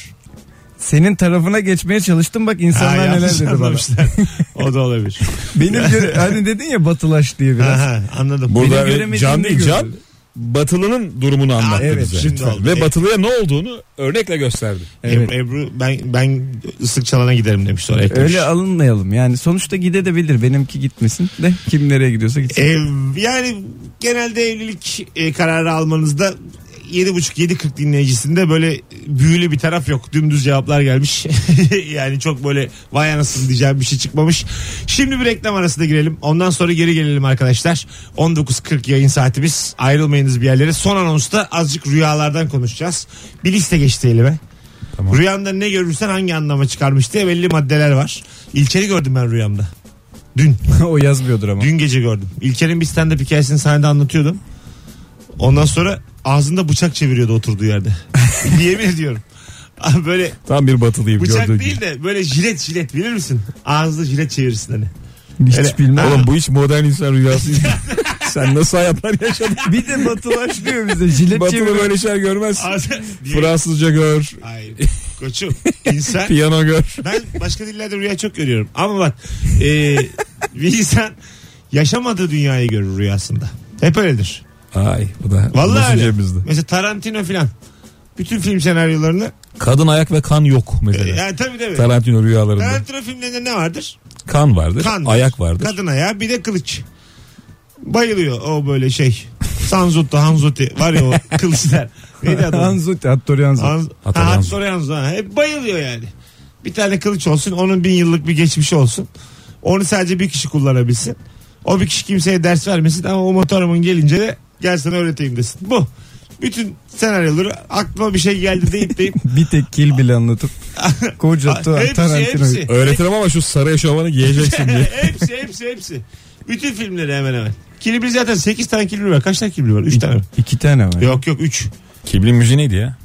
Senin tarafına geçmeye çalıştım bak
Ha,
insanlar neler
yanlış
dedi bana. *laughs*
anlamışlar. o da olabilir.
Benim gö- hani dedin ya batılaş diye biraz.
Aha, anladım.
Burada Benim göremediğim Can de değil, Can görüldü.
e, Batılı'nın durumunu anlattı
evet,
bize.
şimdi oldu.
Ve
Evet.
Batılı'ya ne olduğunu örnekle gösterdi.
Evet.
Ebru, Ebru ben ben ıslık çalana giderim demiş sonra eklemiş.
Öyle alınmayalım yani sonuçta gidebilir benimki gitmesin de kim nereye gidiyorsa gitsin.
Ev- yani genelde evlilik e, kararı almanızda 7.30-7.40 dinleyicisinde böyle büyülü bir taraf yok. Dümdüz cevaplar gelmiş. *laughs* yani çok böyle vay anasını diyeceğim bir şey çıkmamış. Şimdi bir reklam arasına girelim. Ondan sonra geri gelelim arkadaşlar. 19.40 yayın saatimiz. Ayrılmayınız bir yerlere. Son anonsta azıcık rüyalardan konuşacağız. Bir liste geçti elime.
Tamam.
Rüyanda ne görürsen hangi anlama çıkarmış diye belli maddeler var. İlçeri gördüm ben rüyamda. Dün.
*laughs* o yazmıyordur ama.
Dün gece gördüm. İlker'in bir stand-up hikayesini sahnede anlatıyordum. Ondan sonra ağzında bıçak çeviriyordu oturduğu yerde. *laughs* Yemin ediyorum. Abi Böyle
Tam bir Batılıyım
bıçak
gördüğün
değil
gibi.
de böyle jilet jilet bilir misin? Ağızda jilet çevirirsin hani.
Hiç
Öyle-
bilmem.
Oğlum bu hiç modern insan rüyası değil.
*laughs*
Sen nasıl hayatlar yaşadın?
bir de batılaş diyor bize jilet
Batılı
çeviriyor.
böyle şeyler görmezsin.
Ağzı- Diye-
Fransızca gör,
Hayır. Koçum insan
piyano gör.
ben başka dillerde rüya çok görüyorum. Ama bak e, bir insan yaşamadığı dünyayı görür rüyasında. Hep öyledir.
Ay bu da
Vallahi
nasıl
öyle.
cebimizde.
Mesela Tarantino filan. Bütün film senaryolarını.
Kadın ayak ve kan yok
e,
mesela.
yani tabii tabii.
Tarantino rüyalarında.
Tarantino filmlerinde ne vardır?
Kan vardır,
Kan.
ayak vardır.
Kadın ayağı bir de kılıç. Bayılıyor o böyle şey. Sanzutto, Hanzuti var ya
*laughs*
o kılıçlar. Neydi adı? Hanz...
Anzut, Hattori Anzut.
Hanz...
Hattori
Ha,
Hanzo.
Hattori Hanzo, ha. Hep bayılıyor yani. Bir tane kılıç olsun onun bin yıllık bir geçmişi olsun. Onu sadece bir kişi kullanabilsin. O bir kişi kimseye ders vermesin ama o motorumun gelince de gel sana öğreteyim desin. Bu. Bütün senaryoları aklıma bir şey geldi deyip deyip
Bir tek kil bile anlatıp koca tu-
Hepsi,
Tarantino.
hepsi.
Öğretirim ama şu sarı eşofmanı giyeceksin diye.
*laughs* hepsi hepsi hepsi. Bütün filmleri hemen hemen. Kilibir zaten 8 tane kilibir var. Kaç tane kilibir var? 3 tane. mi?
İki tane var.
Yok yok 3.
*laughs* Kiblin müziği neydi ya?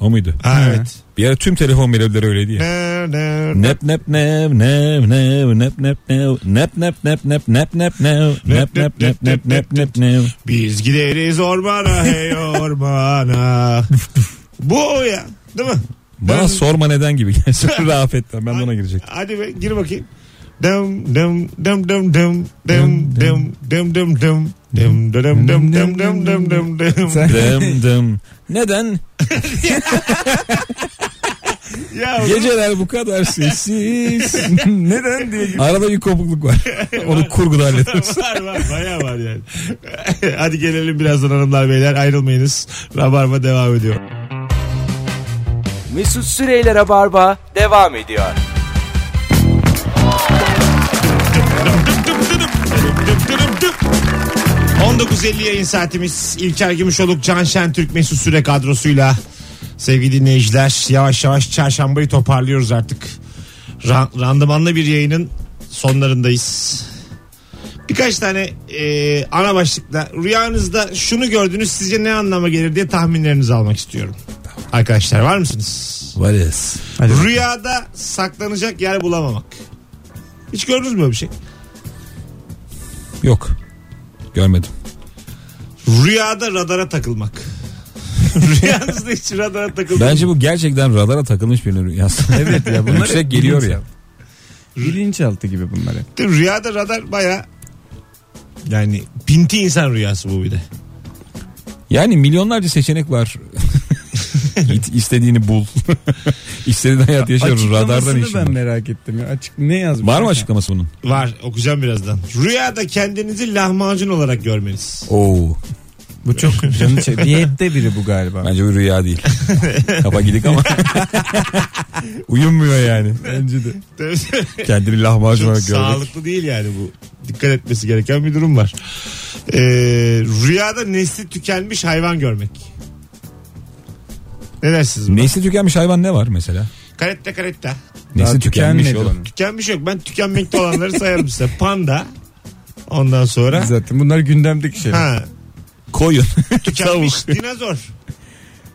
O muydu?
Ha, evet.
Bir ara tüm telefon melodileri öyleydi ya.
Ne, ne, ne,
Nep nep nev nev nev nep nep nev nep nep nep nep nep nep nev nep nep nep nep nep nep nev
Biz gideriz ormana hey ormana. Bu o ya. Değil mi? Ben-
Bana sorma neden gibi *laughs* gelsin Rafet'ten ben de ona girecek.
Hadi be gir bakayım. Dem dem dem dem dem dem dem dem dem dem dem dem dem dem dem dem dem dem dem
Sen-
Dım dım. Neden
Ya
geceler bu kadar sessiz?
*laughs* Neden diye.
Arada bir kopukluk var. *laughs* Onu kurguda hallediyoruz.
var var baya var yani. *laughs* Hadi gelelim birazdan hanımlar beyler ayrılmayınız. Rabarba devam ediyor.
Mesut Süreyler'e barba devam ediyor.
Dıp dıp dıp, dıp dıp dıp. 19.50 yayın saatimiz İlker Gümüşoluk, Can Şentürk, Mesut Süre kadrosuyla sevgili dinleyiciler yavaş yavaş çarşambayı toparlıyoruz artık. Ra- randımanlı bir yayının sonlarındayız. Birkaç tane e, ana başlıkla rüyanızda şunu gördünüz sizce ne anlama gelir diye tahminlerinizi almak istiyorum. Arkadaşlar var mısınız?
Valiz.
Rüyada saklanacak yer bulamamak. Hiç gördünüz mü böyle bir şey?
Yok. Görmedim.
Rüyada radara takılmak. *laughs* Rüyanızda hiç radara takılmak.
Bence bu gerçekten radara takılmış birinin rüyası. Evet ya
bunlar hep
Yüksek geliyor ya.
bilinçaltı. Bilinçaltı gibi bunlar hep.
Rüyada radar baya yani pinti insan rüyası bu bir de.
Yani milyonlarca seçenek var. Git istediğini bul. *laughs* İstediğin hayat yaşarız. Şey, Radardan
Açıklamasını ben
işin var.
merak ettim ya. Açık ne yazmış?
Var mı açıklaması bunun?
Var okuyacağım birazdan. Rüyada kendinizi lahmacun olarak görmeniz. *laughs*
Oo.
Bu çok canı çe- Diyette biri bu galiba.
Bence bu rüya değil. Kafa gidik ama. Uyumuyor yani.
Bence de.
Kendini lahmacun
Çok
olarak gördük.
sağlıklı değil yani bu. Dikkat etmesi gereken bir durum var. Ee, rüyada nesli tükenmiş hayvan görmek. Ne dersiniz? buna?
Nesli tükenmiş hayvan ne var mesela?
Karetta karetta.
Nesli
Daha
tükenmiş
tükenmedi
oğlum.
onun.
Tükenmiş yok. Ben tükenmekte olanları sayarım size. Panda. Ondan sonra.
Zaten bunlar gündemdeki şeyler.
Ha,
Koyun.
tükenmiş dinozor.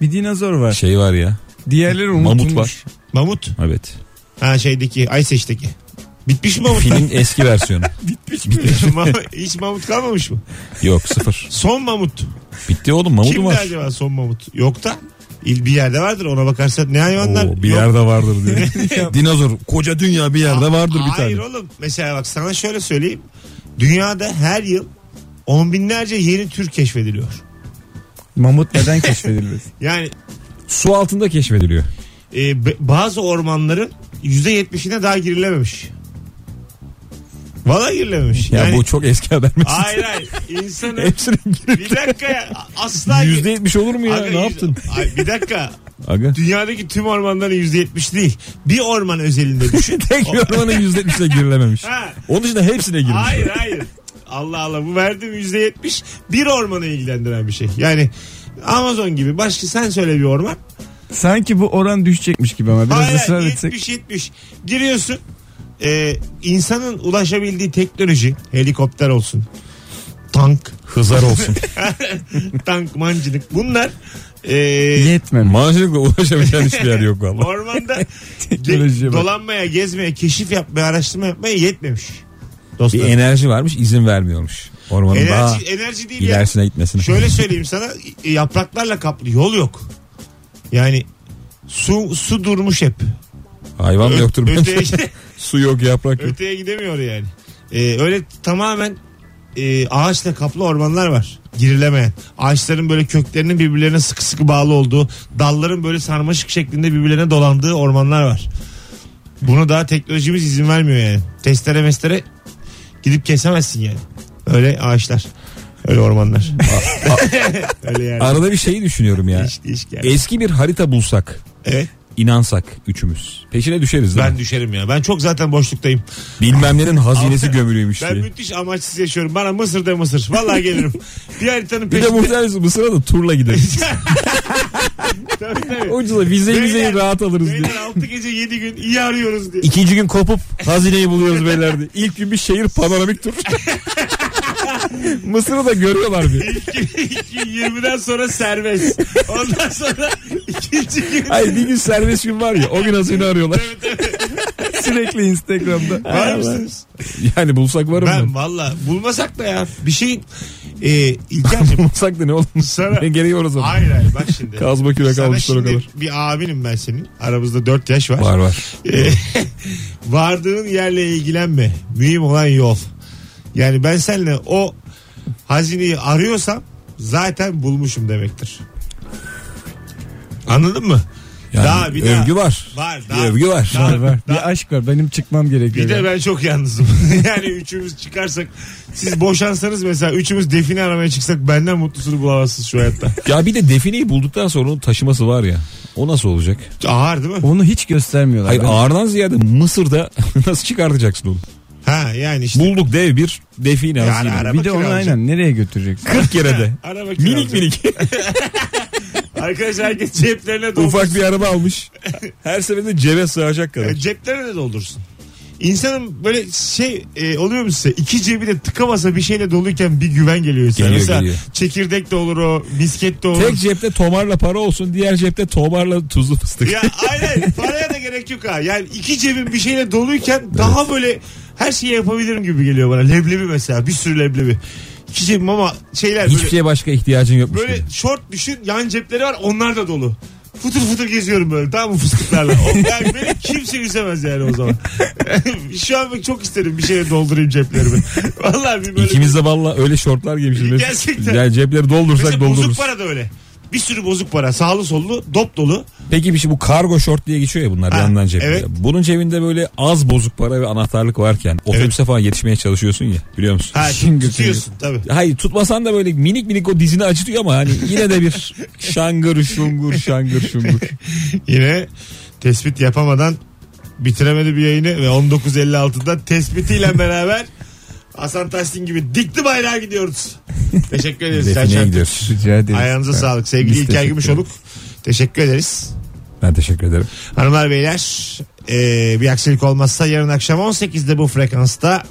Bir dinozor var.
şey var ya.
Diğerleri unutulmuş.
Mamut var.
Mamut.
Evet.
Ha şeydeki Ayseç'teki. Bitmiş mi mamut?
Filin eski versiyonu.
Ma- *laughs* Hiç mamut kalmamış mı?
Yok sıfır.
Son mamut.
Bitti oğlum mamut
Kimdi
mu var?
acaba son mamut? Yok da. il bir yerde vardır ona bakarsan ne hayvanlar?
Oo, bir
Yok.
yerde vardır
*laughs*
diyor. Dinozor koca dünya bir yerde vardır bir
Hayır
tane.
oğlum mesela bak sana şöyle söyleyeyim. Dünyada her yıl on binlerce yeni tür keşfediliyor.
*laughs* Mamut neden keşfedilmez?
Yani
Su altında keşfediliyor.
e, b- bazı ormanların yüzde yetmişine daha girilememiş. Valla girilememiş.
Ya
*laughs* yani,
bu çok eski haber mesela.
Hayır hayır.
*laughs*
İnsanın
Hepsine
bir dakika ya. Asla
Yüzde yetmiş olur mu ya?
Aga,
ne
yüz-
yaptın?
Ay, bir dakika.
Aga.
Dünyadaki tüm ormanların yüzde yetmiş değil. Bir orman özelinde
*laughs*
düşün.
Tek bir ormanın yüzde yetmişine girilememiş.
Ha.
Onun dışında hepsine girmiş.
hayır hayır. Allah Allah bu verdiğim yüzde yetmiş bir ormanı ilgilendiren bir şey. Yani Amazon gibi başka sen söyle bir orman.
Sanki bu oran düşecekmiş gibi ama biraz
Hayır
ısrar
hayır,
etsek.
70 70. Giriyorsun. Ee, insanın ulaşabildiği teknoloji helikopter olsun. Tank. *laughs*
Hızar olsun.
Tank mancınık. Bunlar ee,
Yetmemiş.
Maaşlıkla ulaşamayacağın hiçbir yer yok valla.
*laughs*
ormanda
Teknolojiye
ge-
bak.
dolanmaya, gezmeye, keşif yapmaya, araştırma yapmaya yetmemiş. Dostlar.
Bir enerji varmış izin vermiyormuş. Ormanın daha
enerji, enerji değil ya.
ilerisine gitmesine.
Şöyle söyleyeyim sana e, yapraklarla kaplı yol yok. Yani su su durmuş hep.
Hayvan da
Ö-
yoktur.
öteye,
*laughs* Su yok yaprak yok.
öteye gidemiyor yani. Ee, öyle tamamen e, ağaçla kaplı ormanlar var. Girilemeyen. Ağaçların böyle köklerinin birbirlerine sıkı sıkı bağlı olduğu, dalların böyle sarmaşık şeklinde birbirlerine dolandığı ormanlar var. Bunu daha teknolojimiz izin vermiyor yani. Testere mestere gidip kesemezsin yani. Öyle ağaçlar. Öyle ormanlar. *laughs* öyle yani.
Arada bir şeyi düşünüyorum ya.
Hiç- hiç gelmez.
Eski bir harita bulsak,
Evet.
inansak üçümüz. Peşine düşeriz değil
Ben
mi?
düşerim ya. Ben çok zaten boşluktayım.
Bilmem nenin hazinesi gömülüymüş
Ben
diye.
müthiş amaçsız yaşıyorum. Bana Mısır'da Mısır. Vallahi gelirim.
*laughs*
bir haritanın
Bir de
peşinde.
muhtemelen Mısır'a da turla gideriz.
*laughs* Tabii, tabii.
Ucuza vize vizeyi
Beyler,
rahat alırız diye.
Beyler 6 gece 7 gün iyi arıyoruz diye.
İkinci gün kopup
*laughs*
hazineyi buluyoruz beyler diye. İlk gün bir şehir panoramik tur. *laughs* Mısır'ı da görüyorlar bir.
20'den sonra serbest. Ondan
*laughs*
sonra ikinci gün.
Hayır bir gün serbest gün var ya o gün hazine arıyorlar.
Sürekli
*laughs*
Instagram'da.
Var mısınız?
Yani bulsak varım
Ben
ben.
valla bulmasak da ya. Bir şey e, İlker'cim
*laughs* Bulsak da ne olur.
sana...
Ne gereği var o zaman.
Hayır hayır bak şimdi.
Kazma kürek
Sana
almışlar o
şimdi
kadar.
bir abinim ben senin. Aramızda 4 yaş var.
Var var.
E, *laughs* vardığın yerle ilgilenme. Mühim olan yol. Yani ben seninle o hazineyi arıyorsam zaten bulmuşum demektir. Anladın mı?
Yani
Daha, bir daha.
övgü var.
Var.
Bir övgü var.
Var var. Bir aşk var. Benim çıkmam gerekiyor.
Bir de
yani.
ben çok yalnızım. *laughs* yani üçümüz çıkarsak siz boşansanız mesela üçümüz define aramaya çıksak benden mutlusunu bulamazsınız şu
*laughs*
hayatta.
Ya bir de defineyi bulduktan sonra onun taşıması var ya. O nasıl olacak?
Ağır değil mi?
Onu hiç göstermiyorlar.
Hayır
Ben-
ağırdan ziyade Mısır'da *laughs* nasıl çıkartacaksın onu?
Ha yani işte.
Bulduk dev bir define
Yani Hani *laughs*
hazine.
ara-
bir de onu
Bakıyor amca.
aynen nereye götüreceksin?
40 kere de.
Araba kiralacak.
minik minik.
*laughs* Arkadaşlar herkes ceplerine doldursun.
*laughs* Ufak bir araba
*laughs*
almış. Her seferinde cebe sığacak kadar.
E, Ceplerine de doldursun. İnsanın böyle şey e, oluyor mu size? İki cebi de tıkamasa bir şeyle doluyken bir güven geliyor insana.
Geliyor,
Mesela
geliyor.
çekirdek de olur o, misket de olur.
Tek cepte tomarla para olsun diğer cepte tomarla tuzlu fıstık.
Ya aynen paraya da gerek yok ha. Yani iki cebim bir şeyle doluyken daha böyle her şeyi yapabilirim gibi geliyor bana. Leblebi mesela bir sürü leblebi. İki cebim ama şeyler
Hiçbir şey
böyle,
şeye başka ihtiyacın yokmuş
böyle
gibi.
short düşün yan cepleri var onlar da dolu. Fıtır fıtır geziyorum böyle tamam mı fıstıklarla. O, yani beni kimse üzemez yani o zaman. *laughs* Şu an bak çok isterim bir şeye doldurayım ceplerimi. *laughs* Vallahi bir böyle. E,
İkimiz de valla öyle şortlar giymişiz.
Gerçekten.
Yani cepleri doldursak
Mesela bozuk
doldururuz.
para da öyle. Bir sürü bozuk para. Sağlı sollu, dop dolu.
Peki bir şey bu kargo short diye geçiyor ya bunlar
Ha,
yandan cebinde.
evet.
Bunun cebinde böyle az bozuk para ve anahtarlık varken otobüse falan yetişmeye çalışıyorsun ya biliyor musun?
Ha,
Şimdi
tutuyorsun tabii.
Hayır tutmasan da böyle minik minik o dizini acıtıyor ama hani yine de bir şangır şungur şangır şungur.
Yine tespit yapamadan bitiremedi bir yayını ve 19.56'da tespitiyle beraber Hasan Tahsin gibi dikti bayrağa gidiyoruz. Teşekkür ederiz.
Defineye
Serçen.
gidiyoruz.
Rica ederiz.
Ayağınıza
Ben-
sağlık. Sevgili
Biz
İlker
teşekkür
Gümüşoluk. Teşekkür ederiz.
Ben teşekkür ederim.
Hanımlar beyler e, bir aksilik olmazsa yarın akşam 18'de bu frekansta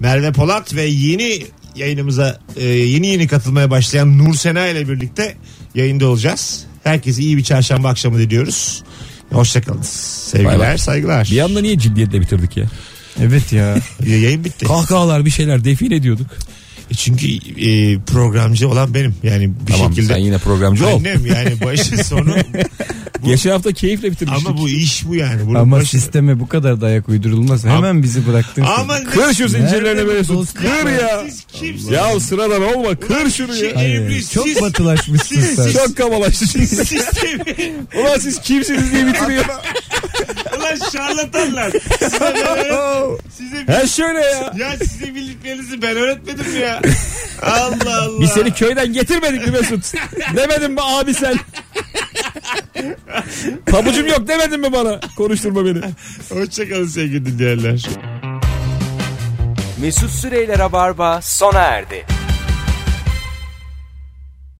Merve Polat ve yeni yayınımıza e, yeni yeni katılmaya başlayan Nur Sena ile birlikte yayında olacağız. Herkese iyi bir çarşamba akşamı diliyoruz. Hoşçakalın. Sevgiler,
Bay bay.
saygılar. E,
Bir yanda niye ciddiyetle bitirdik ya?
*laughs*
Evet ya.
Yayın bitti.
Kahkahalar bir şeyler defile ediyorduk.
E, Çünkü e, programcı olan benim. Yani bir
tamam
şekilde.
sen yine programcı ol.
Annem yani başı
*laughs*
sonu.
Geçen hafta keyifle bitirmiştik.
Ama bu iş bu yani. Bunun
Ama
başı-
sisteme bu kadar dayak uydurulmaz. Hemen bizi bıraktın.
Ama
Kır şu zincirlerini
Nerede
böyle
bu
tut.
dostluk
Kır ya.
Siz kimsiniz?
Ya sıradan olma kır şunu ya.
Şey-
Hayır,
İblis,
çok
siz-
batılaşmışsın
siz-
sen.
siz-
Çok
*laughs*
kabalaştı.
Sistemi.
Ulan siz kimsiniz diye bitiriyor.
Ulan şarlatanlar. Size ben öğret- size
He şöyle şey ya.
ya size bildiklerinizi ben öğretmedim mi
*laughs*
ya. Allah Allah.
Biz seni köyden getirmedik mi Mesut? Demedin mi abi sen? Pabucum yok demedin mi bana? Konuşturma beni.
Hoşçakalın sevgili dinleyenler.
Mesut Süreyler'e barba sona erdi.